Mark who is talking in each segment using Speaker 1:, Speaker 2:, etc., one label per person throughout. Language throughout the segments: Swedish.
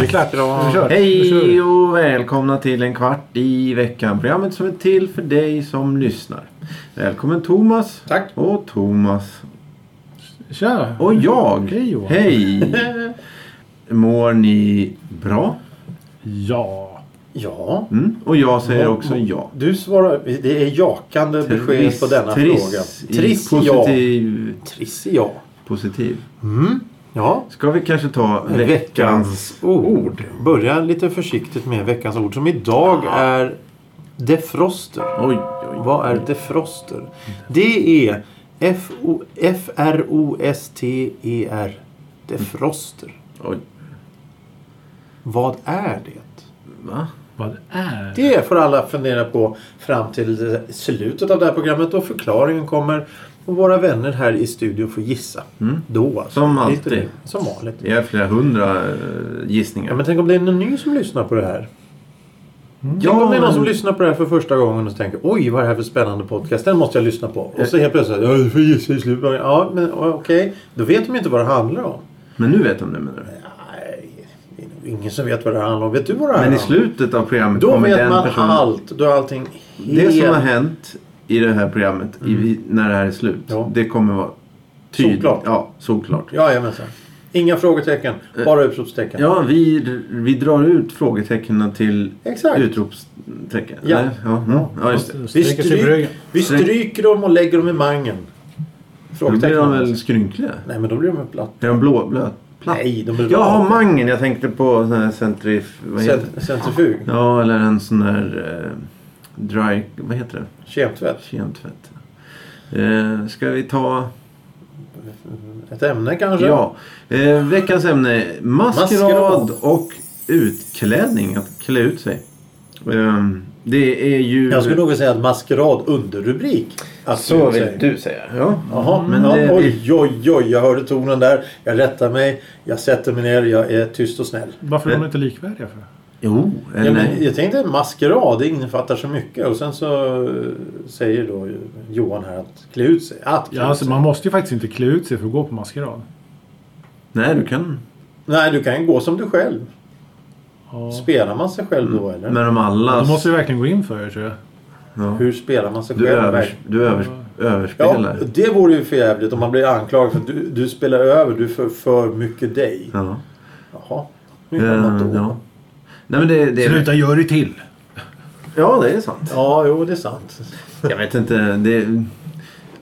Speaker 1: Vi klappar
Speaker 2: Nu kör. Nu kör vi.
Speaker 3: Hej och välkomna till en kvart i veckan. Programmet som är till för dig som lyssnar. Välkommen Thomas.
Speaker 1: Tack.
Speaker 3: Och Thomas.
Speaker 2: Tja!
Speaker 3: Och jag.
Speaker 2: Hej, Johan.
Speaker 3: Hej. Mår ni bra?
Speaker 2: Ja.
Speaker 1: Ja.
Speaker 3: Mm. Och jag säger
Speaker 1: Ja.
Speaker 3: också ja.
Speaker 1: Du svarar... Det är jakande besked på denna fråga.
Speaker 3: triss,
Speaker 1: Triss
Speaker 3: i
Speaker 1: ja.
Speaker 3: positiv,
Speaker 1: Triss ja. Mm.
Speaker 3: positiv.
Speaker 1: Ja.
Speaker 3: Ska vi kanske ta veckans...
Speaker 1: Veckans ord. Börja lite försiktigt med veckans ord som idag är defroster.
Speaker 3: Oj, oj.
Speaker 1: Vad är defroster? Det är F-O- F-R-O-S-T-E-R. E Defroster.
Speaker 3: oj.
Speaker 1: Vad är det?
Speaker 3: Va?
Speaker 2: Vad är det?
Speaker 1: Det får alla fundera på fram till slutet av det här programmet och förklaringen kommer. Och våra vänner här i studion får gissa. Då alltså.
Speaker 3: Mm. Som
Speaker 1: Det är
Speaker 3: alltid.
Speaker 1: inte det. Som vanligt.
Speaker 3: Det är flera hundra eh, gissningar.
Speaker 1: Ja, men tänk om det är någon ny som lyssnar på det här.
Speaker 3: Mm.
Speaker 1: Tänk om det är någon som lyssnar på det här för första gången och tänker oj vad är det här för spännande podcast, den måste jag lyssna på. Och så helt plötsligt, ja du får gissa i slutet. Ja men ja, okej, då vet de inte vad det handlar om.
Speaker 3: men nu vet de det menar du?
Speaker 1: Nej, det är nog ingen som vet vad det handlar om. Vet du vad det handlar
Speaker 3: Men
Speaker 1: om?
Speaker 3: i slutet av programmet
Speaker 1: Då
Speaker 3: kommer
Speaker 1: vet
Speaker 3: den
Speaker 1: man
Speaker 3: personen...
Speaker 1: allt. Då är allting helt... Mm.
Speaker 3: Det som har hänt i det här programmet i, när det här är slut.
Speaker 1: Ja.
Speaker 3: Det kommer vara tydligt.
Speaker 1: Solklart.
Speaker 3: Ja, solklart.
Speaker 1: Jajamensan. Inga frågetecken, bara utropstecken.
Speaker 3: Eh. Ja, vi, vi drar ut frågetecknen till
Speaker 1: Exakt.
Speaker 3: utropstecken.
Speaker 1: Ja.
Speaker 3: Nej, Ja, ja, ja, just det.
Speaker 1: Vi,
Speaker 2: Sträcker sig på
Speaker 1: stryk,
Speaker 2: ryggen.
Speaker 1: vi
Speaker 3: Sträck-
Speaker 1: stryker dem och lägger dem i
Speaker 3: Då
Speaker 1: mangen.
Speaker 3: blir de
Speaker 1: Frågetecken.
Speaker 3: väl skrynkliga?
Speaker 1: Nej, men då blir de väl platt.
Speaker 3: Är de blåblöt? Platt?
Speaker 1: Nej, de blir
Speaker 3: Jaha, mangen. Jag tänkte på sån här centrif... Vad heter det?
Speaker 1: Cent- Centrifug.
Speaker 3: Ja, eller en sån där... Eh, dry... Vad heter det?
Speaker 1: Kemtvätt.
Speaker 3: Kemtvätt. Eh, ska vi ta...
Speaker 1: Ett ämne kanske?
Speaker 3: Ja. Eh, veckans ämne. Maskerad
Speaker 1: Maskerad.
Speaker 3: och utklädning. Att klä ut sig. Ehm, det är ju...
Speaker 1: Jag skulle nog vilja säga att maskerad underrubrik. Att
Speaker 3: Så
Speaker 1: du
Speaker 3: vill
Speaker 1: säger.
Speaker 3: du säga. Ja.
Speaker 1: Jaha,
Speaker 3: Men
Speaker 1: ja,
Speaker 3: det-
Speaker 1: oj, oj, oj. Jag hörde tonen där. Jag rättar mig. Jag sätter mig ner. Jag är tyst och snäll.
Speaker 2: Varför är de inte likvärdiga för?
Speaker 3: Jo. eh,
Speaker 1: Ja,
Speaker 3: Eller,
Speaker 1: men jag tänkte maskerad, det innefattar så mycket. Och sen så eh, säger då Johan här att klä ut sig. Att klä
Speaker 2: Ja,
Speaker 1: ut
Speaker 2: alltså,
Speaker 1: sig.
Speaker 2: man måste ju faktiskt inte klä ut sig för att gå på maskerad.
Speaker 3: Nej, du kan.
Speaker 1: Nej, du kan gå som du själv.
Speaker 2: Ja.
Speaker 1: Spelar man sig själv då eller?
Speaker 3: Men om alla...
Speaker 2: Då måste vi verkligen gå in för det tror jag.
Speaker 3: ja.
Speaker 1: Hur spelar man sig
Speaker 3: Du,
Speaker 1: själv?
Speaker 3: övers, du övers,
Speaker 1: ja,
Speaker 3: överspelar.
Speaker 1: det vore ju för jävligt om man blir anklagad för att du, du spelar över, du är för, för mycket dig.
Speaker 3: Ja.
Speaker 1: Jaha, nu gör man
Speaker 3: Ehm,
Speaker 1: då.
Speaker 3: ja. Nej, men det, det är...
Speaker 2: Sluta gör det till!
Speaker 3: Ja, det är sant.
Speaker 1: Ja, jo det är sant.
Speaker 3: Jag vet inte. Det,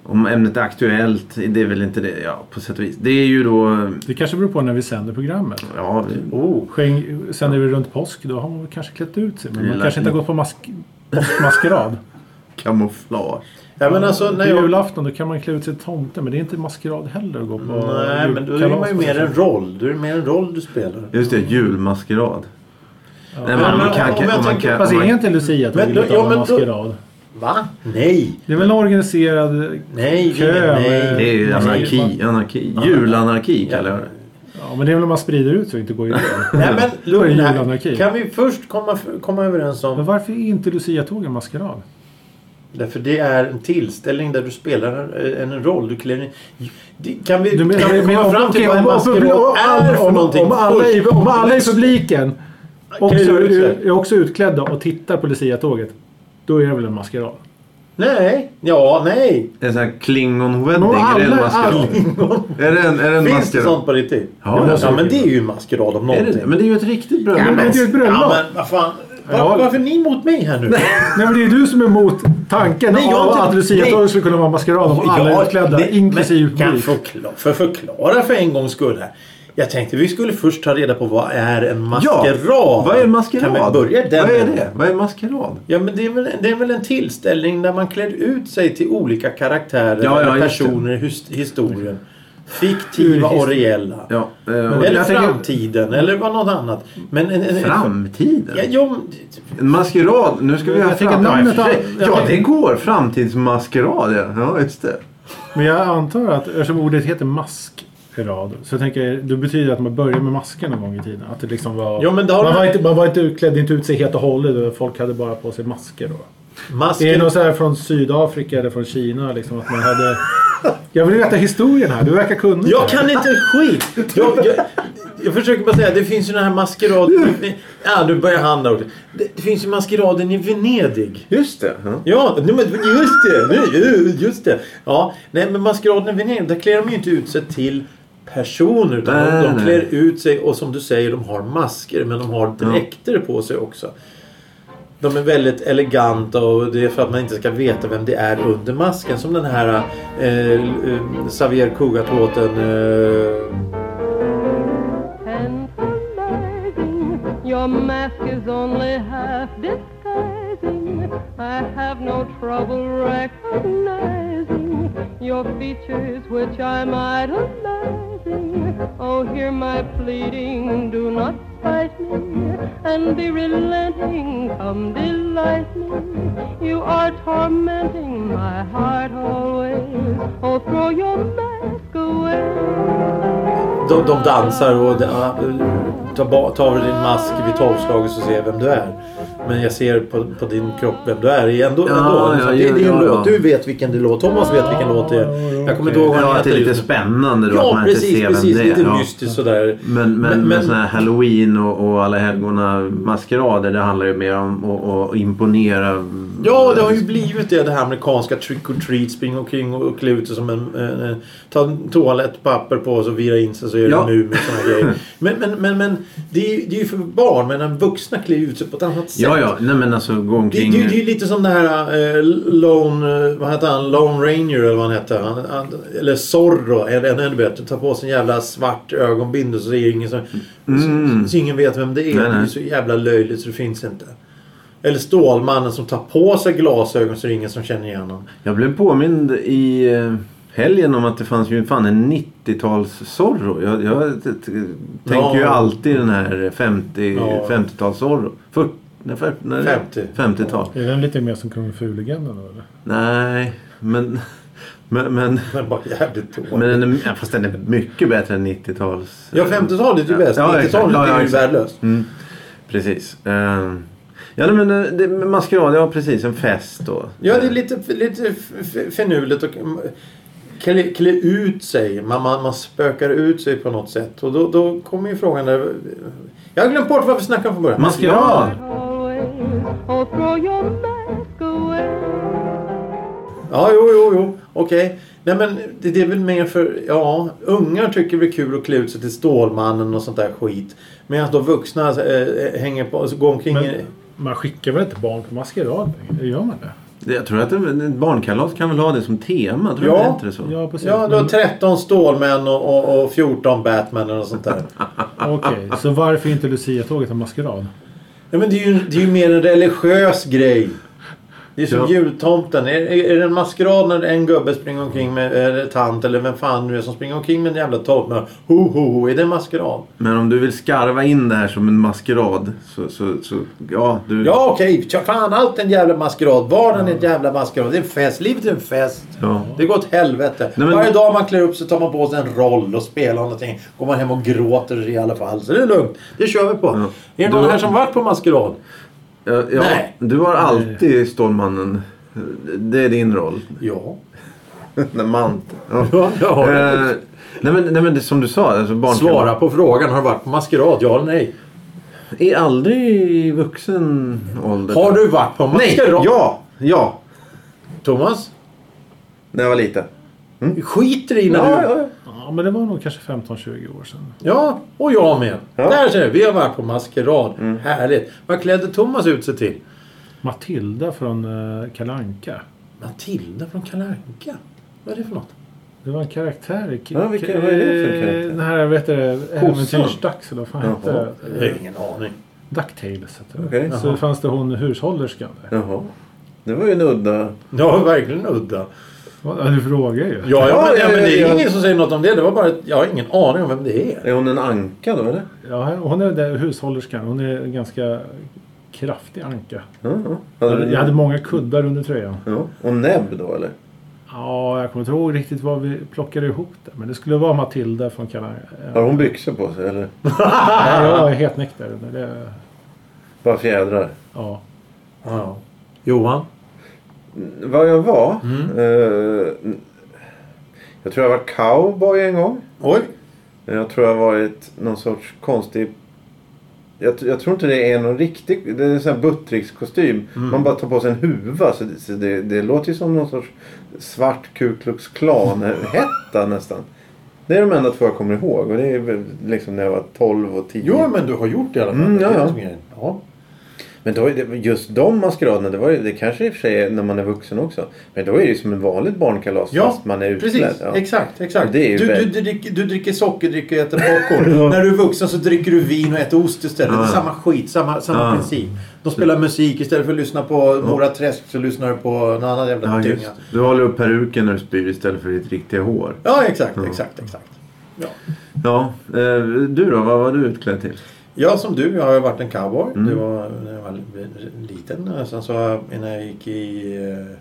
Speaker 3: om ämnet är aktuellt, det är väl inte det. Ja, på sätt och vis. Det är ju då...
Speaker 2: Det kanske beror på när vi sänder programmet.
Speaker 3: Ja, vi-
Speaker 1: Oh.
Speaker 2: Skäng, sänder vi runt påsk då har man väl kanske klätt ut sig. Men man
Speaker 3: Lilla-
Speaker 2: kanske inte har gått på mask, påskmaskerad.
Speaker 3: kamouflage.
Speaker 1: Ja, men alltså,
Speaker 2: på
Speaker 1: när jag...
Speaker 2: julafton då kan man klä ut sig till tomte men det är inte maskerad heller att gå på
Speaker 1: Nej, men då är
Speaker 2: julkalas
Speaker 1: man ju
Speaker 2: på
Speaker 1: mer
Speaker 2: det
Speaker 1: en roll. Du är det mer en roll du spelar.
Speaker 3: Just det, julmaskerad.
Speaker 2: sättet.
Speaker 3: Nej,
Speaker 2: Ja.
Speaker 3: men man
Speaker 1: men
Speaker 3: kan,
Speaker 1: om jag
Speaker 3: om man
Speaker 1: tänker-
Speaker 3: kan,
Speaker 2: Fast
Speaker 3: om
Speaker 2: är
Speaker 3: man,
Speaker 2: inte lucia
Speaker 1: Men då-
Speaker 2: tagit
Speaker 1: ja,
Speaker 2: av
Speaker 1: men
Speaker 2: en
Speaker 1: då-
Speaker 2: maskerad?
Speaker 1: Va? Nej!
Speaker 2: Det är väl en organiserad
Speaker 1: Nej,
Speaker 2: kö?
Speaker 1: nej, nej.
Speaker 2: med-
Speaker 3: det är ju
Speaker 1: Man säger
Speaker 3: anarki. anarki. Julanarki kallar jag det.
Speaker 2: Ja, men det är väl om man sprider ut så det inte går igen.
Speaker 1: Nej men
Speaker 2: Vad är
Speaker 1: lugn här.
Speaker 2: julanarki?
Speaker 1: Kan vi först komma, komma överens
Speaker 2: Men
Speaker 1: om...
Speaker 2: varför är inte luciatågen maskerad?
Speaker 1: Därför det är en tillställning där du spelar eh, en, en roll. Du klär en... Kan vi,
Speaker 2: Du menar-
Speaker 1: kan vi komma
Speaker 2: om-
Speaker 1: fram
Speaker 2: okej,
Speaker 1: till vad en
Speaker 2: om- om-
Speaker 1: maskerad
Speaker 2: om-
Speaker 1: är för
Speaker 2: om-
Speaker 1: någonting
Speaker 2: Om alla i-
Speaker 1: först?
Speaker 2: om alla i publiken också,
Speaker 1: Klär ut sig.
Speaker 2: är också utklädda och tittar på luciatåget. Då är det väl en maskerad?
Speaker 1: Nej. Ja, nej.
Speaker 3: En sån här klingonwedding.
Speaker 2: Men
Speaker 3: Är det en
Speaker 2: alla-
Speaker 3: maskerad? Är det en, är det en
Speaker 1: Finns det
Speaker 3: maskerad?
Speaker 1: sånt på riktigt?
Speaker 3: Ja,
Speaker 1: Ja,
Speaker 3: det
Speaker 1: ja,
Speaker 3: måste
Speaker 1: men
Speaker 3: det
Speaker 1: det är ju en maskerad om
Speaker 3: Är
Speaker 1: någonting.
Speaker 3: det, det? men det är ju ett riktigt bröllop.
Speaker 2: Ja, men- det är ju ett bröllop.
Speaker 1: Ja, men vad fan. Var,
Speaker 2: Ja.
Speaker 1: Varför är ni mot mig här nu?
Speaker 2: Nej, men det är ju du som är emot tanken
Speaker 1: Nej, jag
Speaker 2: av
Speaker 1: tycker-
Speaker 2: att
Speaker 1: nej.
Speaker 2: luciatåget skulle kunna vara maskerad om alla är utklädda,
Speaker 1: det-
Speaker 2: inklusive
Speaker 1: men kan
Speaker 2: publik.
Speaker 1: förklara, för förklara för en gångs skull här. Jag tänkte vi skulle först ta reda på vad är en maskerad?
Speaker 3: Ja, vad är en maskerad?
Speaker 1: Kan vi börja den?
Speaker 3: Vad är
Speaker 1: änden?
Speaker 3: det? Vad är en maskerad?
Speaker 1: Ja, men det är, väl, det är väl en tillställning där man klär ut sig till olika karaktärer
Speaker 3: Ja, ja,
Speaker 1: eller
Speaker 3: just det.
Speaker 1: personer i hus- historien.
Speaker 2: Ur
Speaker 1: Fiktiva
Speaker 2: historien.
Speaker 1: och reella.
Speaker 3: Ja, eh,
Speaker 1: Eller
Speaker 2: jag tänker-
Speaker 1: framtiden, eller vad något annat. Men en, en, en,
Speaker 3: framtiden.
Speaker 1: Ja, jo, men-
Speaker 3: En maskerad. Nu ska vi
Speaker 2: Jag
Speaker 3: ha
Speaker 2: tänker
Speaker 3: fram... Ja, i och
Speaker 2: namnet
Speaker 3: för sig.
Speaker 2: an- jag
Speaker 3: ja, det
Speaker 2: tänker-
Speaker 3: går. Framtidsmaskerad, ja. Ja, just det.
Speaker 2: Men jag antar att eftersom ordet heter mask i rad. Så jag tänker, det betyder att man började med masken en gång i tiden. Att det liksom var,
Speaker 1: Ja, men det har
Speaker 2: man,
Speaker 1: man-
Speaker 2: var inte, man var inte utklädd, inte ut sig helt och hållet. och Folk hade bara på sig masker då. Det är
Speaker 1: Masken...
Speaker 2: nog så här från Sydafrika eller från Kina liksom att man hade... Jag vill veta historien här. Du verkar kunna
Speaker 1: Jag
Speaker 2: det.
Speaker 1: kan inte skit! Jag, jag, jag försöker bara säga, det finns ju den här maskeraden... Ja, du börjar han där också. Det, det finns ju maskeraden i Venedig.
Speaker 3: Just det. Ja.
Speaker 1: Ja, nej, men just det! nu, Just det! Ja, nej men maskeraden i Venedig, där klär de ju inte ut sig till personer. Utan
Speaker 3: Nej,
Speaker 1: de, de
Speaker 3: nej.
Speaker 1: klär ut sig och som du säger, de har masker. Men de har dräkter på sig också. De är väldigt eleganta och det är för att man inte ska veta vem det är under masken. Som den här eh, eh, Xavier Cugat-låten. Eh,
Speaker 4: tantalizing. Your mask is only half disguising. I have no trouble recognizing your features, which I'm idolizing. Oh, hear my pleading, do not fight me, and be relenting, come delight me. You are tormenting my heart always. Oh, throw your mask away.
Speaker 1: De, de dansar och ja, ta, ba- ta av dig din mask vid tolvslaget så ser jag vem du är. Men jag ser på, på din kropp vem du är ändå.
Speaker 3: Ja,
Speaker 1: ändå.
Speaker 3: ja,
Speaker 1: det, det är
Speaker 3: ja,
Speaker 1: en
Speaker 3: ja,
Speaker 1: låt.
Speaker 3: ja.
Speaker 1: Du vet vilken det är låt. Thomas vet vilken låt det är. Jag kommer inte ihåg vad
Speaker 3: Ja,
Speaker 1: den
Speaker 3: att det
Speaker 1: heter
Speaker 3: är lite
Speaker 1: just nu.
Speaker 3: spännande då att
Speaker 1: Ja,
Speaker 3: man inte
Speaker 1: precis.
Speaker 3: ser
Speaker 1: precis.
Speaker 3: vem det
Speaker 1: lite
Speaker 3: är. Ja.
Speaker 1: mystiskt sådär.
Speaker 3: Men, men, men,
Speaker 1: men-
Speaker 3: sådana här halloween och, och alla helgona maskerader det handlar ju mer om att att imponera.
Speaker 1: Ja, det har ju blivit det, det här amerikanska trick or treat. Springa omkring och klä ut sig som en... en, en ta toalettpapper på sig och vira in sig så är
Speaker 3: Ja.
Speaker 1: det nu med såna grejer. Men, men, men, men det är ju det är ju för barn. Men den vuxna klär ut sig på ett annat sätt.
Speaker 3: Ja, ja. Nej men alltså gå
Speaker 1: Det,
Speaker 3: omkring.
Speaker 1: det, det är ju lite som det här eh, Lone... eh, Vad hette han? Lone Ranger eller vad han hette. Han, han, eller Zorro. är det Ännu bättre. Ta på sig en jävla svart ögonbindel så, är ingen, som, så, så ingen vet vem det är.
Speaker 3: Mm. Nej,
Speaker 1: Det är
Speaker 3: nej.
Speaker 1: så jävla löjligt så det finns inte. Eller Stålmannen som tar på sig glasögon så är det ingen som känner igen honom.
Speaker 3: Jag blev påmind i eh, helgen om att det fanns ju fan en 90-tals Zorro. Jag, jag t- t- tänker ju
Speaker 1: Ja.
Speaker 3: alltid den här 50,
Speaker 1: Ja.
Speaker 3: 50-tals Zorro. 40, nej, fyr- nej,
Speaker 1: 50.
Speaker 3: 50-tal.
Speaker 2: Är den lite mer som Kung Fu-legenden då, eller?
Speaker 3: Nej, men... Men, men,
Speaker 1: Men bara jävligt dåligt.
Speaker 3: men den är, ja, fast den är mycket bättre än 90-tals.
Speaker 1: ja, 50-talet är ju bäst.
Speaker 3: Ja, exakt.
Speaker 1: 90-talet
Speaker 3: Ja, ja,
Speaker 1: är ju
Speaker 3: exakt.
Speaker 1: värdelöst.
Speaker 3: Precis. Eh, Ja, nej, men eh, det, men maskerad, ja precis. En fest då.
Speaker 1: Ja, det är lite, lite f- f- finurligt att klä, klä ut sig. Man, man, man spökar ut sig på något sätt. Och då, då kommer ju frågan där... Jag har glömt bort varför vi snackade om från början.
Speaker 3: Maskerad!
Speaker 4: always. Oh, throw your mask away.
Speaker 1: Ja, jo, jo, jo. Okej. Nej, men det, det är väl mer för... Ja, ungar tycker det är kul att klä ut sig till Stålmannen och sånt där skit. Medan då vuxna eh, hänger på... Alltså, går omkring...
Speaker 2: Men man skickar väl inte barn på maskerad längre? Gör man det?
Speaker 3: Det- Jag tror att en- en barnkalas kan väl ha det som tema? Tror
Speaker 1: Ja.
Speaker 3: ja. Inte det så?
Speaker 2: Ja, precis.
Speaker 1: Ja, du har
Speaker 2: Men-
Speaker 1: 13 Stålmän och, och, och 14 Batman och sånt där.
Speaker 2: Okej, så varför inte Lucia-tåget en maskerad?
Speaker 1: Ja, men det är, ju, det är ju mer en religiös grej. Det är som
Speaker 3: Ja.
Speaker 1: jultomten. Är, är, är det en maskerad när en gubbe springer omkring med eh, eller tant eller vem fan nu är som springer omkring med en jävla tomt med ho ho ho. Är det en maskerad?
Speaker 3: Men om du vill skarva in det här som en maskerad så, så, så ja du...
Speaker 1: Ja okej, okay. fan allt är en jävla maskerad. Vardagen är en jävla maskerad. Det är en fest. Livet är en fest.
Speaker 3: Ja.
Speaker 1: Det går åt helvete.
Speaker 3: Nej, men-
Speaker 1: Varje dag man klär upp sig tar man på sig en roll och spelar någonting. Går man hem och gråter i alla fall. Så det är lugnt. Det kör vi på.
Speaker 3: Ja.
Speaker 1: Är det någon
Speaker 3: Du-
Speaker 1: här som varit på maskerad?
Speaker 3: Ja, ja,
Speaker 1: Nej.
Speaker 3: Du har alltid Stålmannen. Det är din roll.
Speaker 1: Ja.
Speaker 3: Nej, man. Ja.
Speaker 1: Ja, jag har det.
Speaker 3: Eh, nej, men, nej men det, som du sa. Alltså barnkalas.
Speaker 1: Svara på frågan. Har du varit på maskerad? Ja eller nej?
Speaker 3: Är aldrig i vuxen ålder.
Speaker 1: Har du varit på
Speaker 3: Nej!
Speaker 1: maskerad?
Speaker 3: Ja! Ja!
Speaker 1: Thomas?
Speaker 3: När jag var liten.
Speaker 1: Skiter i när
Speaker 3: Ja,
Speaker 1: du...
Speaker 3: ja, ja.
Speaker 2: Ja, men det var nog kanske 15-20 år sedan.
Speaker 1: Ja, och jag med.
Speaker 3: Ja.
Speaker 1: Där ser du. Vi har varit på maskerad. Härligt. Vad klädde Thomas ut sig till?
Speaker 2: Matilda från uh, Kalanka.
Speaker 1: Matilda från Kalle Anka. Vad är det för något?
Speaker 2: Det var en karaktär i... Eh,
Speaker 3: Ja, vilken- vad är det för karaktär?
Speaker 2: Den här, vet du, Äventyrsdags eller vad fan hette
Speaker 3: Jaha.
Speaker 2: det?
Speaker 1: Jag har ingen aning.
Speaker 2: Ducktails hette det.
Speaker 3: Okej.
Speaker 2: Så fanns det hon hushållerskan där.
Speaker 3: Jaha. Det var ju en udda...
Speaker 1: Ja, verkligen udda.
Speaker 2: Ja, du frågar ju.
Speaker 1: Ja, ja,
Speaker 3: Ja,
Speaker 1: men, ja,
Speaker 3: ja,
Speaker 1: men det är
Speaker 3: ja, ja.
Speaker 1: ingen som säger något om det. Det var bara att jag har ingen aning om vem det är.
Speaker 3: Är hon en anka då eller?
Speaker 2: Ja, hon är där, hushållerskan. Hon är en ganska kraftig anka.
Speaker 3: Ja, ja.
Speaker 2: Jag hade många kuddar under tröjan.
Speaker 3: ja. Och näbb då eller?
Speaker 2: Ja, Ja, jag kommer inte ihåg riktigt vad vi plockade ihop det. Men det skulle vara Matilda från Kanarien.
Speaker 3: Har hon byxor på sig eller? Ah!
Speaker 2: Jag är helt nykter. men det-
Speaker 3: Bara fjädrar?
Speaker 2: Ja.
Speaker 1: Ja. Johan?
Speaker 3: Vad jag var? Eh, jag tror jag var cowboy en gång.
Speaker 1: Oj!
Speaker 3: Jag tror jag har varit någon sorts konstig... Jag, jag tror inte det är någon riktig... Det är en sån här buttrickskostym.
Speaker 1: Mm.
Speaker 3: Man bara tar på sig en huva. Så det, så det, det låter ju som någon sorts svart Ku Klux Klan-hetta nästan. Det är de enda två jag kommer ihåg. Och det är väl liksom när jag var 12 och 10.
Speaker 1: Jo, men du har gjort det i alla fall.
Speaker 3: Mm, ja,
Speaker 1: Det är
Speaker 3: ja.
Speaker 1: det som är grejen. ja.
Speaker 3: Men då är det, just de maskeraderna, det, var ju, det kanske i och för sig är när man är vuxen också. Men då är det ju som en vanligt barnkalas
Speaker 1: Ja,
Speaker 3: fast man är utklädd.
Speaker 1: Precis,
Speaker 3: Ja.
Speaker 1: exakt. exakt.
Speaker 3: Det är ju
Speaker 1: du, du,
Speaker 3: väl-
Speaker 1: dricker, du dricker sockerdryck och äter popcorn. När du är vuxen så dricker du vin och äter ost istället. Det är samma skit, samma, samma
Speaker 3: Ja.
Speaker 1: princip. De spelar musik istället för att lyssna på Mora Träsk så lyssnar du på någon annan jävla
Speaker 3: Ja,
Speaker 1: dynga.
Speaker 3: just. Du håller upp peruken när du spyr istället för ditt riktiga hår.
Speaker 1: Ja, exakt, exakt, exakt. Ja.
Speaker 3: Ja, eh, du då? Vad var du utklädd till?
Speaker 1: Jag som du, jag har ju varit en cowboy.
Speaker 3: Mm.
Speaker 1: Det var när jag var li- liten. Sen så när jag gick i eh,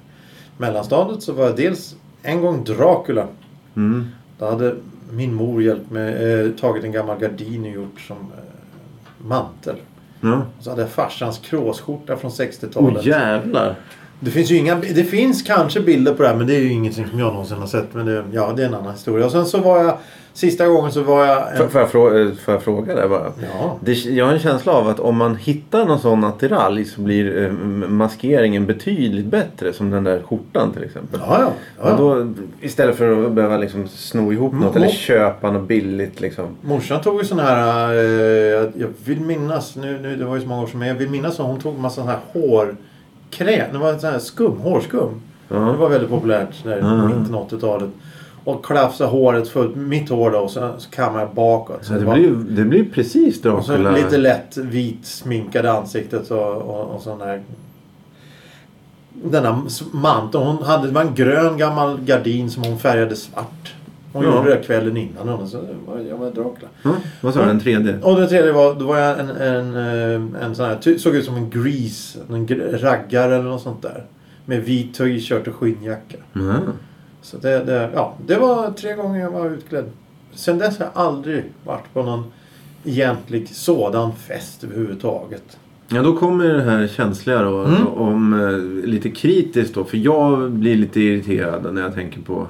Speaker 1: mellanstadiet så var jag dels en gång Dracula.
Speaker 3: Mm.
Speaker 1: Då hade min mor hjälpt mig, eh, tagit en gammal gardin och gjort som eh, mantel.
Speaker 3: Ja.
Speaker 1: Och så hade jag farsans kråsskjorta från
Speaker 3: Åh
Speaker 1: 60-talet.
Speaker 3: jävlar!
Speaker 1: det, finns ju inga, det finns kanske bilder på det här men det är ju ingenting som jag någonsin har sett. Men det, ja, det är en annan historia. Och sen så var jag, sista gången så var jag...
Speaker 3: Får,
Speaker 1: En,
Speaker 3: får, jag fråga, får jag fråga där bara?
Speaker 1: ja.
Speaker 3: Det, jag har en känsla av att om man hittar någon sån attiralj så blir eh, maskeringen betydligt bättre. Som den där skjortan till exempel.
Speaker 1: Ja, ja.
Speaker 3: Och
Speaker 1: ja.
Speaker 3: då, istället för att behöva liksom sno ihop något
Speaker 1: Mm.
Speaker 3: eller köpa något billigt liksom.
Speaker 1: Morsan tog ju sån här, eh, jag- jag vill minnas, nu, nu, det var ju så många år som jag vill minnas att hon tog massa sån här hårkräm, det var en sån här skum, hårskum.
Speaker 3: Ja.
Speaker 1: Det var väldigt populärt där i
Speaker 3: Ja.
Speaker 1: mitten av 80-talet. Och klafsa håret fullt, mitt hår då, och så, så kammar jag bakåt. Så
Speaker 3: det,
Speaker 1: var-
Speaker 3: blir, det blir precis
Speaker 1: och så
Speaker 3: Dracula.
Speaker 1: lite lätt vit sminkade ansiktet och, och, och sån här denna mantel. Hon hade, det var en grön gammal gardin som hon färgade svart. Hon
Speaker 3: Ja.
Speaker 1: gjorde det kvällen innan. Och så, var- jag var Dracula.
Speaker 3: Ja, vad sa du?
Speaker 1: Mm.
Speaker 3: En 3D?
Speaker 1: Och den tredje var, då var jag en, en, eh, en sån här, ty- såg ut som en grease, en gr- raggare eller något sånt där. Med vit t-shirt och skinnjacka.
Speaker 3: Mm.
Speaker 1: Så det, det, ja, det var tre gånger jag var utklädd. Sen dess har jag aldrig varit på någon egentlig sådan fest överhuvudtaget.
Speaker 3: Ja, då kommer det här känsliga då.
Speaker 1: Mm.
Speaker 3: Om, eh, lite kritiskt då. För jag blir lite irriterad när jag tänker på...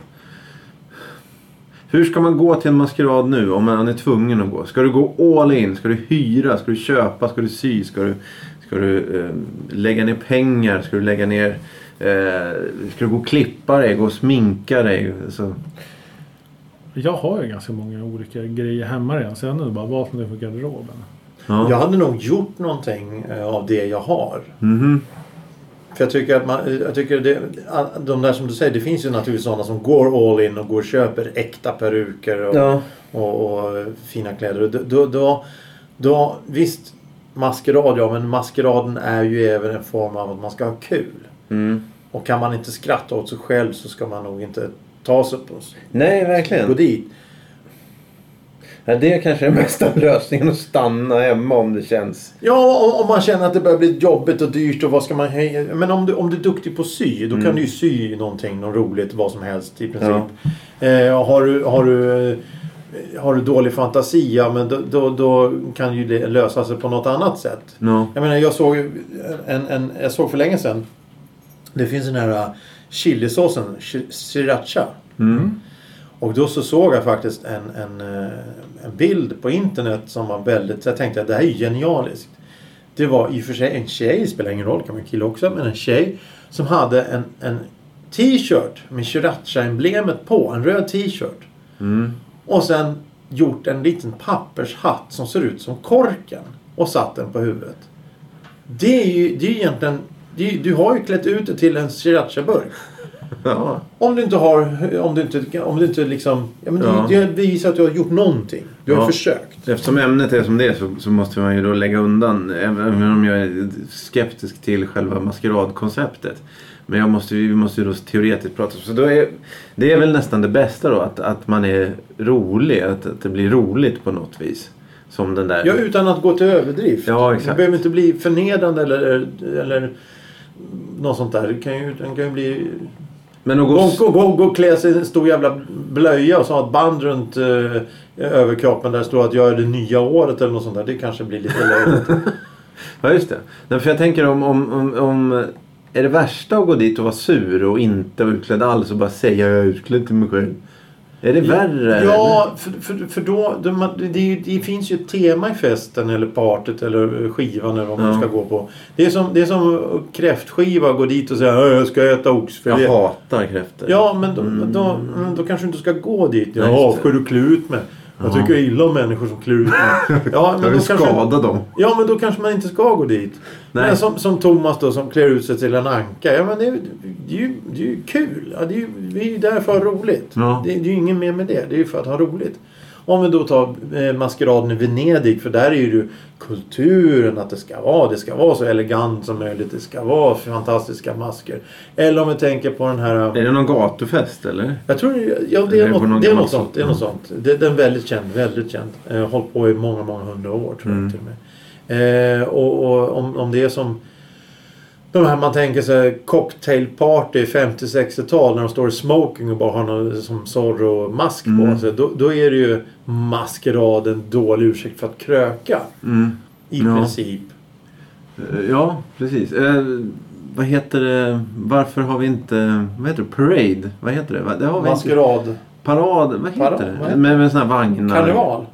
Speaker 3: Hur ska man gå till en maskerad nu om man är tvungen att gå? Ska du gå all in? Ska du hyra? Ska du köpa? Ska du sy? Ska du, ska du eh, lägga ner pengar? Ska du lägga ner... Eh, ska du gå och klippa dig? Gå och sminka dig? Så,
Speaker 2: Jag har ju ganska många olika grejer hemma redan. Så jag har nu bara valt nu för garderoben.
Speaker 3: ja.
Speaker 1: Jag hade nog gjort någonting eh, av det jag har.
Speaker 3: Mhm.
Speaker 1: För jag tycker att man, eh, jag tycker det, de där som du säger, det finns ju naturligtvis sådana som går all in och går och köper äkta peruker och,
Speaker 3: Ja.
Speaker 1: och, och fina kläder. Och Då, då, då, då, visst, maskerad ja, men maskeraden är ju även en form av att man ska ha kul.
Speaker 3: Mm.
Speaker 1: Och kan man inte skratta åt sig själv så ska man nog inte ta sig på sig.
Speaker 3: Nej,
Speaker 1: Gå
Speaker 3: verkligen.
Speaker 1: dit.
Speaker 3: Ja, det är kanske den bästa lösningen att stanna hemma om det känns.
Speaker 1: Ja, om, om man känner att det börjar bli jobbigt och dyrt och vad ska man... hej- Men om du, om du är duktig på att sy, då kan du ju sy någonting, något roligt, vad som helst i princip. Eh, och har, du, har, du, eh, har du dålig fantasi, ja men då, då, då kan ju det lösa sig på något annat sätt.
Speaker 3: Ja.
Speaker 1: Jag menar, jag såg, ju en, en, jag såg för länge sedan. Det finns den här äh, chilisåsen, shi- sriracha. Och då så såg jag faktiskt en, en, eh, en bild på internet som var väldigt... Så jag tänkte att det här är ju genialiskt. Det var i och för sig en tjej, det spelar ingen roll, det kan vara en kille också, men en tjej som hade en, en t-shirt med sriracha-emblemet på, en röd t-shirt. Och sen gjort en liten pappershatt som ser ut som korken och satt den på huvudet. Det är ju, det är ju egentligen... Det är, ju- du har ju klätt ut det till en sriracha-burk.
Speaker 3: Ja.
Speaker 1: Om du inte har... Om du inte, om du inte liksom... Ja, men
Speaker 3: Ja.
Speaker 1: Det, det visar att du har gjort någonting. Du har
Speaker 3: Ja.
Speaker 1: försökt.
Speaker 3: Eftersom ämnet är som det är så, så måste man ju då lägga undan, även om jag är skeptisk till själva maskeradkonceptet. Men jag måste, ju- vi måste ju då teoretiskt prata. Så då är, det är väl nästan det bästa då, att, att man är rolig, att, att det blir roligt på något vis. Som den där...
Speaker 1: Ja, utan att gå till överdrift.
Speaker 3: Ja, exakt.
Speaker 1: Det behöver inte bli förnedrande eller, eller något sånt där. Det kan ju, den kan ju bli
Speaker 3: Men att gå...
Speaker 1: Gå, gå, gå, gå och klä sig i en stor jävla blöja och så ha ett band runt eh, överkroppen där det står att jag är det nya året eller något sånt där. Det kanske blir lite löjligt.
Speaker 3: Ja, just det. Nej, för jag tänker om, om, om, om... Är det värsta att gå dit och vara sur och inte vara utklädd alls och bara säga jag är utklädd till mig själv? Är det värre?
Speaker 1: ja, för, för, för då... Det, man- det, är ju- det finns ju ett tema i festen eller partyt eller skivan eller vad man
Speaker 3: Ja.
Speaker 1: ska gå på. Det är som, det är som kräftskiva att gå dit och säga "Ö, jag ska äta
Speaker 3: Jag
Speaker 1: oxfilé.
Speaker 3: hatar kräftor.
Speaker 1: Ja, men då, då, mm, då kanske du inte ska gå dit. Jag
Speaker 3: Nej, just det.
Speaker 1: avskyr att klä ut mig. Jag tycker illa om människor som klär ut mig. Ja,
Speaker 3: jag
Speaker 1: men då
Speaker 3: vill
Speaker 1: kanske,
Speaker 3: skada dem.
Speaker 1: ja, men då kanske man inte ska gå dit.
Speaker 3: Nej.
Speaker 1: Men som, som Thomas då som klär ut sig till en anka. Ja, men det, är ju- det, är ju, det är ju kul. Ja, det, är ju, det är ju där för att ha roligt.
Speaker 3: Ja.
Speaker 1: Det, det är ju ingen mer med det. Det är ju för att ha roligt. Om vi då tar eh, maskeraden i Venedig. För där är ju det kulturen att det ska vara. Det ska vara så elegant som möjligt. Det ska vara fantastiska masker. Eller om vi tänker på den här...
Speaker 3: Är det någon gatufest eller?
Speaker 1: Jag tror det- ja, det
Speaker 3: Det
Speaker 1: är
Speaker 3: är på någon
Speaker 1: något, det är
Speaker 3: gammal Mm.
Speaker 1: något sånt. Det är något sånt. Det, den är väldigt känd. Väldigt känd. Eh, hållit på i många, många hundra år tror
Speaker 3: Mm.
Speaker 1: jag till och med. Eh, och och om, om det är som de här man tänker sig cocktailparty 50-60-tal när de står i smoking och bara har någon som Zorro-mask
Speaker 3: Mm.
Speaker 1: på sig. Då, då är det ju maskerad en dålig ursäkt för att kröka.
Speaker 3: Mm.
Speaker 1: I
Speaker 3: Ja.
Speaker 1: princip.
Speaker 3: Eh, Ja, precis. Eh, vad heter det? Varför har vi inte... Vad heter det? Parade? Vad heter det? Va- det har vi inte.
Speaker 1: Maskerad.
Speaker 3: Parad? Vad heter
Speaker 1: Parad, vad
Speaker 3: det?
Speaker 1: heter
Speaker 3: Med, med såna här vagnar.
Speaker 1: Karneval.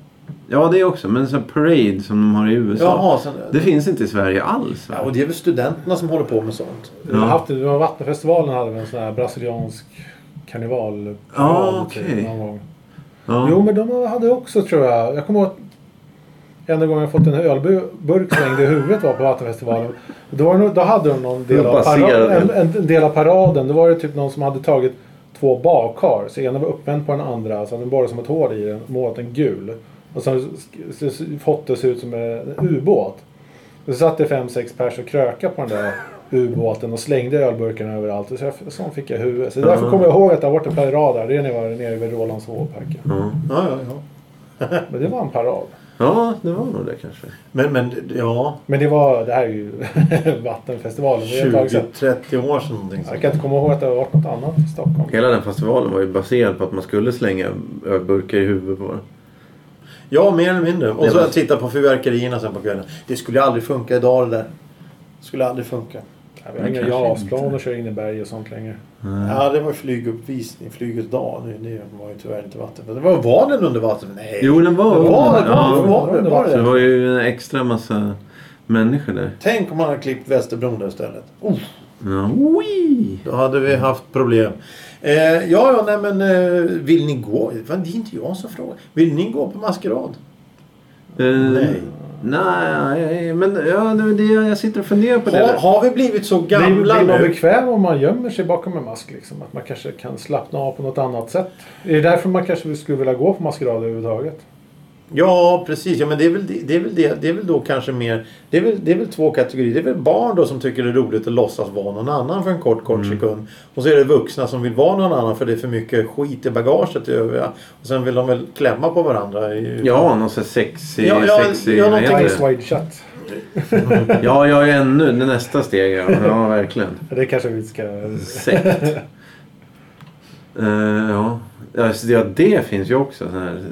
Speaker 3: Ja, det också. Men sån här parade som de har i USA.
Speaker 1: Jaha. Sen,
Speaker 3: Det finns inte i Sverige alls.
Speaker 1: ja,
Speaker 3: Va?
Speaker 1: och det är väl studenterna som håller på med sånt.
Speaker 2: Vi har haft det. Det var Vattenfestivalen hade vi en sån här brasiliansk karneval.
Speaker 3: Ah, okej.
Speaker 2: någon gång.
Speaker 3: Ja.
Speaker 2: Jo, men de hade också tror jag. Jag kommer ihåg att enda gången jag fått en ölburk slängd i huvudet var på Vattenfestivalen. Då, var det, nog- då hade de någon del
Speaker 3: Jag
Speaker 2: av,
Speaker 3: bara ser
Speaker 2: para-
Speaker 3: det.
Speaker 2: en, en del av paraden. Då var det typ någon som hade tagit två badkar. Så ena var uppvänd på den andra. Så hade den bara som ett hål i den. Målat en gul. Och sen sk- s- s- fått det se ut som en ubåt. Så satt det fem, sex pers och kröka på den där ubåten och slängde ölburkarna överallt. Så jag, sån fick jag i huvudet. Så därför kommer jag ihåg att det har varit en parad där. Det är när jag var nere vid Rålambshovparken.
Speaker 3: Ja.
Speaker 1: Ja, ja, ja.
Speaker 2: Men det var en parad.
Speaker 3: ja, det var nog det kanske.
Speaker 1: Men, men ja.
Speaker 2: Men det var, det här är ju Vattenfestivalen. Det är ett tag sedan.
Speaker 1: 20-30 år sedan någonting sånt.
Speaker 2: Jag kan inte komma ihåg att det har varit något annat i Stockholm.
Speaker 3: Hela den festivalen var ju baserad på att man skulle slänga ölburkar i huvudet på varandra.
Speaker 1: Ja, mer eller mindre. Och
Speaker 3: Det
Speaker 1: så
Speaker 3: var-
Speaker 1: att titta på fyrverkerierna sen på kvällen. Det skulle aldrig funka idag det där. Det skulle aldrig funka.
Speaker 2: Jag har inga
Speaker 3: kanske
Speaker 2: JAS-plan och kör in i berg och sånt längre.
Speaker 1: Ja, det var ju flyguppvisning. Flygets dag. Det, det var ju tyvärr inte vatten. Men det var, var den under vatten? Nej.
Speaker 3: Jo, den var
Speaker 1: det var, det var, det
Speaker 3: ja.
Speaker 1: var, det var
Speaker 3: Så det
Speaker 1: det.
Speaker 3: var ju en extra massa människor där.
Speaker 1: Tänk om man hade klippt Västerbron där istället. Oh,
Speaker 3: Ja. Ui.
Speaker 1: då hade vi haft problem. Eh, ja, ja, nej men eh, vill ni gå? Fan, Det är inte jag som frågar. Vill ni gå på maskerad?
Speaker 3: Eh,
Speaker 1: Nej.
Speaker 3: Nej, eh, men ja, det är det jag jag sitter och funderar på.
Speaker 1: Har,
Speaker 3: det.
Speaker 1: har vi blivit så
Speaker 2: Det är-
Speaker 1: gamla
Speaker 2: Blir man
Speaker 1: nu?
Speaker 2: bekväm om man gömmer sig bakom en mask? Liksom? Att man kanske kan slappna av på något annat sätt? Är det därför man kanske skulle vilja gå på maskerad överhuvudtaget?
Speaker 1: Ja, precis. Ja, men det, är väl, det, är väl det, det är väl då kanske mer... Det är, väl, det är väl två kategorier. Det är väl barn då som tycker det är roligt att låtsas vara någon annan för en kort, kort sekund. Och så är det vuxna som vill vara någon annan för det är för mycket skit i bagaget i övriga. Och sen vill de väl klämma på varandra. i-
Speaker 3: Ja, någon sån här sexig...
Speaker 1: Ja, ja,
Speaker 3: sexig
Speaker 1: ja,
Speaker 3: vad
Speaker 1: någonting-
Speaker 3: heter
Speaker 2: Ice wide shut.
Speaker 3: det? ja, ja, ja, ännu. Det är nästa steg. Ja, ja verkligen.
Speaker 2: Det kanske vi ska...
Speaker 3: Sekt. Eh, ja. Ja, så det- ja, det finns ju också. Sån här.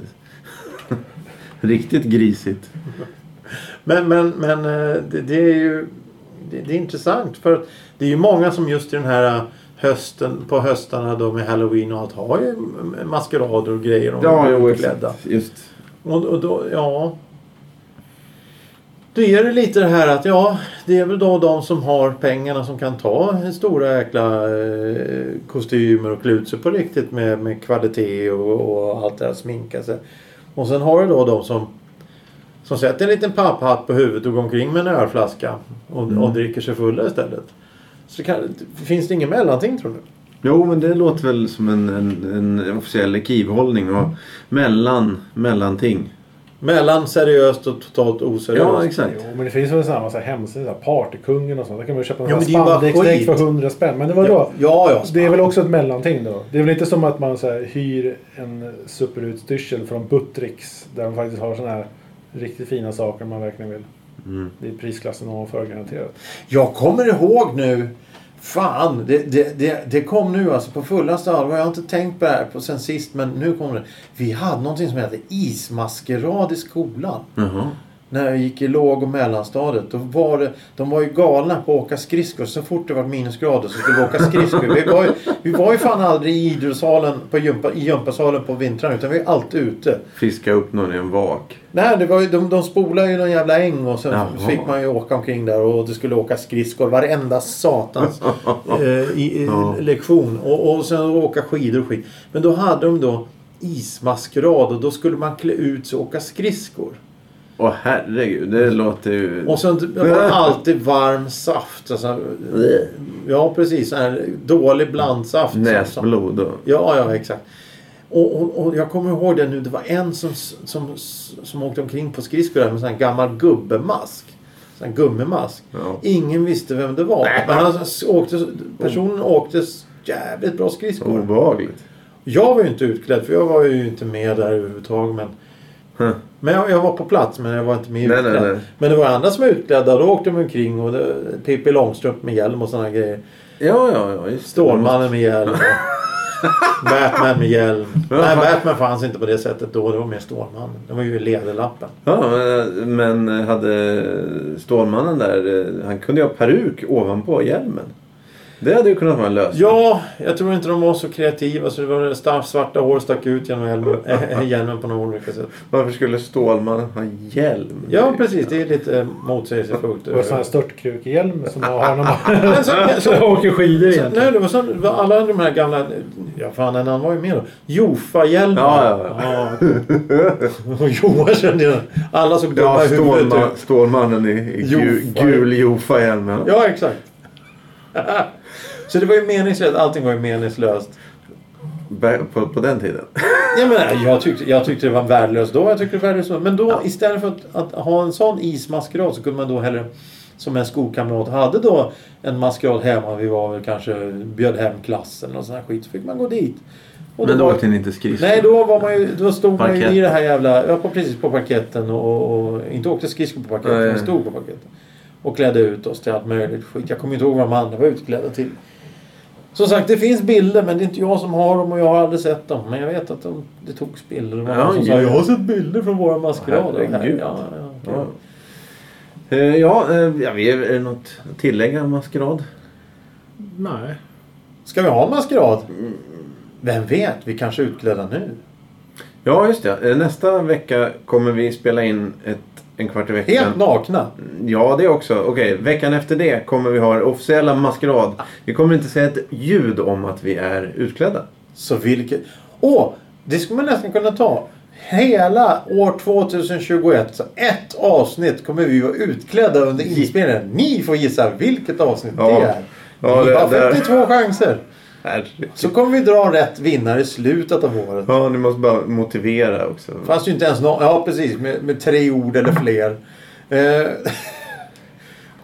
Speaker 3: Riktigt grisigt.
Speaker 1: Men, men, men eh, det, det är ju det, det är intressant för att det är ju många som just i den här eh, hösten på höstarna då med halloween och allt har ju maskerader och grejer. och de är klädda.
Speaker 3: Just.
Speaker 1: Och, och då, ja. Då är det lite det här att ja, det är väl då de som har pengarna som kan ta stora jäkla eh, kostymer och klä ut sig på riktigt med, med kvalitet och, och allt det här sminka sig. Och sen har du då de som som sätter en liten papphatt på huvudet och går omkring med en ölflaska och,
Speaker 2: Mm.
Speaker 1: och dricker sig fulla istället. Så kan, finns det ingen mellanting tror du?
Speaker 3: Jo, men det låter väl som en, en, en officiell kivhållning. Och mellan, mellanting.
Speaker 1: Mellan seriöst och totalt oseriöst.
Speaker 3: Ja, exakt.
Speaker 2: Jo, men det finns väl en sån här massa hemsidor, så här Partykungen och sånt. Där kan man ju köpa en sån
Speaker 1: Ja, men det är ju bara
Speaker 2: här spandex
Speaker 1: skit.
Speaker 2: för 100 spänn. Men det var då.
Speaker 1: ja, ja, ja.
Speaker 2: Det är väl också ett mellanting då? Det är väl inte som att man så här, hyr en superutstyrsel från Buttricks där de faktiskt har såna här riktigt fina saker
Speaker 3: Mm.
Speaker 2: om man verkligen vill. Det är prisklassen ovanför garanterat.
Speaker 1: Jag kommer ihåg nu Fan, det, det, det, det kom nu alltså på fullaste allvar. Jag har inte tänkt på det här på sen sist men nu kommer det. Vi hade någonting som hette ismaskerad i skolan.
Speaker 3: Jaha.
Speaker 1: När jag gick i låg och mellanstadiet. Då var det, de var ju galna på att åka skridskor. Så fort det var minusgrader så skulle vi åka skridskor. Vi var ju, vi var ju fan aldrig i idrottssalen på gympa, i gympasalen på vintrarna. Utan vi var alltid ute.
Speaker 3: Fiska upp någon i en vak.
Speaker 1: Nej, det var ju, de, de spolade ju någon jävla äng och sen
Speaker 3: Jaha.
Speaker 1: fick man ju åka omkring där och det skulle åka skridskor varenda satans eh, i, i,
Speaker 3: Ja.
Speaker 1: lektion. Och, och sen åka skidor och skit. Men då hade de då ismaskerad och då skulle man klä ut sig och åka skridskor.
Speaker 3: Åh herregud, det låter ju...
Speaker 1: Och sen var det alltid varm saft. Alltså, ja, precis. sån här dålig blandsaft.
Speaker 3: Näsblod och...
Speaker 1: Ja, ja, exakt. Och, och, och jag kommer ihåg det nu. Det var en som, som, som åkte omkring på skridskor där med sån här gammal gubbemask. Sån här gummimask.
Speaker 3: Ja.
Speaker 1: Ingen visste vem det var. Men han s- åkte, personen åkte s- jävligt bra skridskor.
Speaker 3: Obehagligt.
Speaker 1: Jag var ju inte utklädd för jag var ju inte med där överhuvudtaget. Men,
Speaker 3: Huh.
Speaker 1: men jag, jag var på plats men jag var inte med
Speaker 3: Nej,
Speaker 1: utklädd.
Speaker 3: nej, nej.
Speaker 1: Men det var andra som var utklädda. Då åkte de omkring och det, Pippi Långstrump med hjälm och såna grejer.
Speaker 3: Ja, ja, ja. Just det.
Speaker 1: Stålmannen med hjälm. och Batman med hjälm. Nej, Batman fanns inte på det sättet då. Det var mer Stålmannen. Det var ju Lederlappen.
Speaker 3: Ja, men- eh, men hade Stålmannen där, eh, han kunde ju ha peruk ovanpå hjälmen. Det hade ju kunnat vara en lösning.
Speaker 1: Ja, jag tror inte de var så kreativa så det var det staff, svarta hår stack ut genom hjälmen, eh, hjälmen på några olika sätt.
Speaker 3: Varför skulle Stålmannen ha hjälm?
Speaker 1: Ja, precis. Det är lite eh, motsägelsefullt.
Speaker 2: Det var sån här störtkrukehjälm som man har när man
Speaker 1: Men så- så-
Speaker 2: åker skidor
Speaker 1: så-
Speaker 2: egentligen.
Speaker 1: Nej, det var så, det var alla de här gamla... Ja, fan, en annan var ju med då. Jofa-hjälmar.
Speaker 3: Ja, ja,
Speaker 1: ja. Johan kände jag. Alla såg dumma
Speaker 3: Ja,
Speaker 1: i huvudet typ.
Speaker 3: Stålman,
Speaker 1: ut.
Speaker 3: Stålmannen i, i gul,
Speaker 1: Jofa.
Speaker 3: gul Jofa-hjälm. Ja.
Speaker 1: Ja, exakt. Så det var ju meningslöst. Allting var ju meningslöst.
Speaker 3: Ba- På, på den tiden.
Speaker 1: Jag, menar, jag, tyckte, jag tyckte det var värdelöst då. Jag tyckte det var värdelöst då. Men då istället för att, att ha en sån ismaskerad så kunde man då hellre som en skolkamrat hade då en maskerad hemma. Vi var väl kanske bjöd hem klassen och sån här skit. Så fick man gå dit. Och
Speaker 3: Men då
Speaker 1: var-
Speaker 3: åkte ni inte skridskor?
Speaker 1: Nej, då, var man ju, då stod man
Speaker 3: Parkett.
Speaker 1: ju i det här jävla... Ja, på, precis på parketten och, och inte åkte skridskor på parketten,
Speaker 3: Nej.
Speaker 1: men stod på parketten. Och klädde ut oss till allt möjligt skit. Jag kommer inte ihåg vad de andra var utklädda till. Som sagt, det finns bilder men det är inte jag som har dem och jag har aldrig sett dem. Men jag vet att de, det togs bilder. Det var
Speaker 3: Ja,
Speaker 1: någon som
Speaker 3: ja.
Speaker 1: sa, jag har sett bilder från våra maskerader.
Speaker 3: Herregud.
Speaker 1: Ja, ja, ja.
Speaker 3: Ja. Eh, Ja, eh, jag vet, är det något att tillägga om maskerad?
Speaker 2: Nej.
Speaker 1: Ska vi ha maskerad? Vem vet, vi kanske är utklädda nu.
Speaker 3: Ja, just det. Eh, Nästa vecka kommer vi spela in ett, en kvart i veckan.
Speaker 1: Helt nakna.
Speaker 3: Ja, det också. Okej, veckan efter det kommer vi ha den officiella maskerad. Vi kommer inte säga ett ljud om att vi är utklädda.
Speaker 1: Så vilket... Åh! Det skulle man nästan kunna ta. Hela år 2021, så ett avsnitt kommer vi vara utklädda under inspelningen. Ni får gissa vilket avsnitt
Speaker 3: Ja.
Speaker 1: det är.
Speaker 3: Ja,
Speaker 1: Ni
Speaker 3: det-
Speaker 1: har
Speaker 3: det-
Speaker 1: 52 chanser.
Speaker 3: Herregud.
Speaker 1: Så kommer vi dra rätt vinnare i slutet av året.
Speaker 3: Ja, ni måste bara motivera också.
Speaker 1: Fanns ju inte ens någon... Ja, precis. Med, med tre ord eller fler. Eh,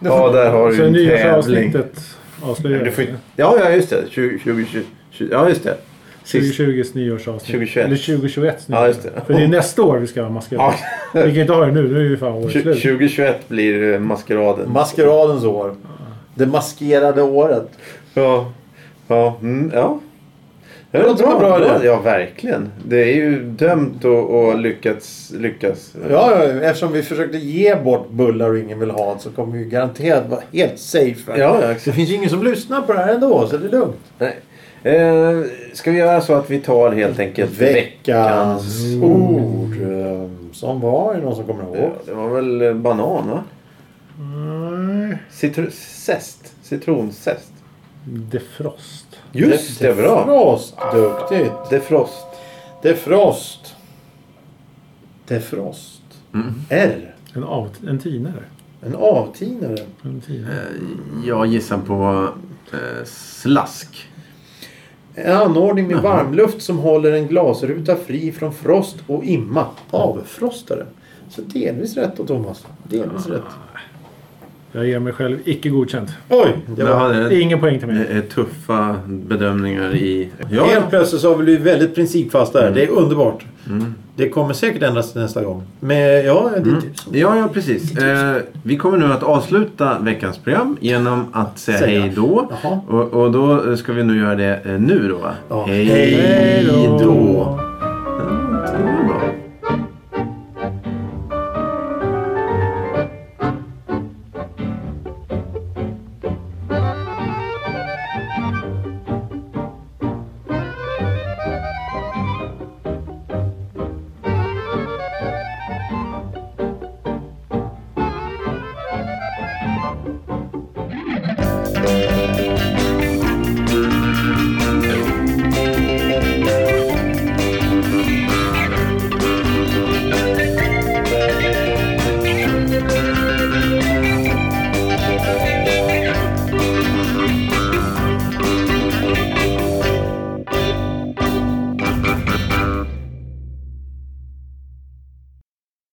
Speaker 3: Ja, där har
Speaker 2: Så
Speaker 3: du
Speaker 2: det
Speaker 3: en
Speaker 2: nya
Speaker 3: tävling.
Speaker 2: avsnittet avslöjar
Speaker 3: Du
Speaker 2: vi.
Speaker 3: får... Ja, ja, just det. 20, 20, 20, ja, just det. Sist.
Speaker 2: 2020s nyårsavsnitt.
Speaker 3: 2021.
Speaker 2: Eller 2021
Speaker 3: Ja, just det.
Speaker 2: För det är nästa år vi ska ha maskerad.
Speaker 3: Ja.
Speaker 2: Vi kan inte ha det nu. Nu är ju fan året slut.
Speaker 3: 2021 blir eh, maskeraden.
Speaker 1: maskeradens år. Det maskerade året.
Speaker 3: Ja. Ja. Mm, ja.
Speaker 1: Det låter bra, bra.
Speaker 3: Ja, verkligen. Det är ju dömt att att lyckas. lyckas.
Speaker 1: Ja, ja, eftersom vi försökte ge bort bullar och ingen vill ha det så kommer vi garanterat vara helt safe. här.
Speaker 3: ja,
Speaker 1: Det finns ju ingen som lyssnar på det här ändå så det är lugnt.
Speaker 3: Nej. Eh, ska vi göra så att vi tar helt enkelt
Speaker 1: Veckans ord. eh, Som var är det någon som kommer
Speaker 3: Ja,
Speaker 1: ihåg.
Speaker 3: det var väl eh, banan va?
Speaker 2: Nej.
Speaker 3: Citru- zest. Citronzest.
Speaker 2: Defrost.
Speaker 3: Just det, bra.
Speaker 1: Defrost. Duktigt.
Speaker 3: Defrost.
Speaker 1: Defrost. Defrost.
Speaker 3: Mm.
Speaker 1: R.
Speaker 2: En, av, en tinare.
Speaker 1: En avtinare.
Speaker 2: En tinare.
Speaker 3: Jag gissar på eh, slask.
Speaker 1: En anordning med varmluft som håller en glasruta fri från frost och imma. Avfrostare. Så delvis rätt då Thomas. Delvis rätt.
Speaker 2: Jag ger mig själv icke godkänt.
Speaker 1: Oj! Det var...
Speaker 3: Ja, det
Speaker 2: Ingen poäng till mig.
Speaker 3: är tuffa bedömningar i...
Speaker 1: Helt
Speaker 3: Ja, Mm.
Speaker 1: plötsligt så har vi blivit väldigt principfasta här. Det är underbart. Det kommer säkert ändras till nästa gång. Men ja, det är
Speaker 3: Mm.
Speaker 1: typ tips.
Speaker 3: ja, ja precis. Eh, vi kommer nu att avsluta veckans program genom att säga
Speaker 1: Säga.
Speaker 3: hej då.
Speaker 1: Jaha.
Speaker 3: Och, och då ska vi nu göra det eh, nu då va?
Speaker 1: Ja.
Speaker 3: Hej
Speaker 1: Hej då.
Speaker 3: då! Mm.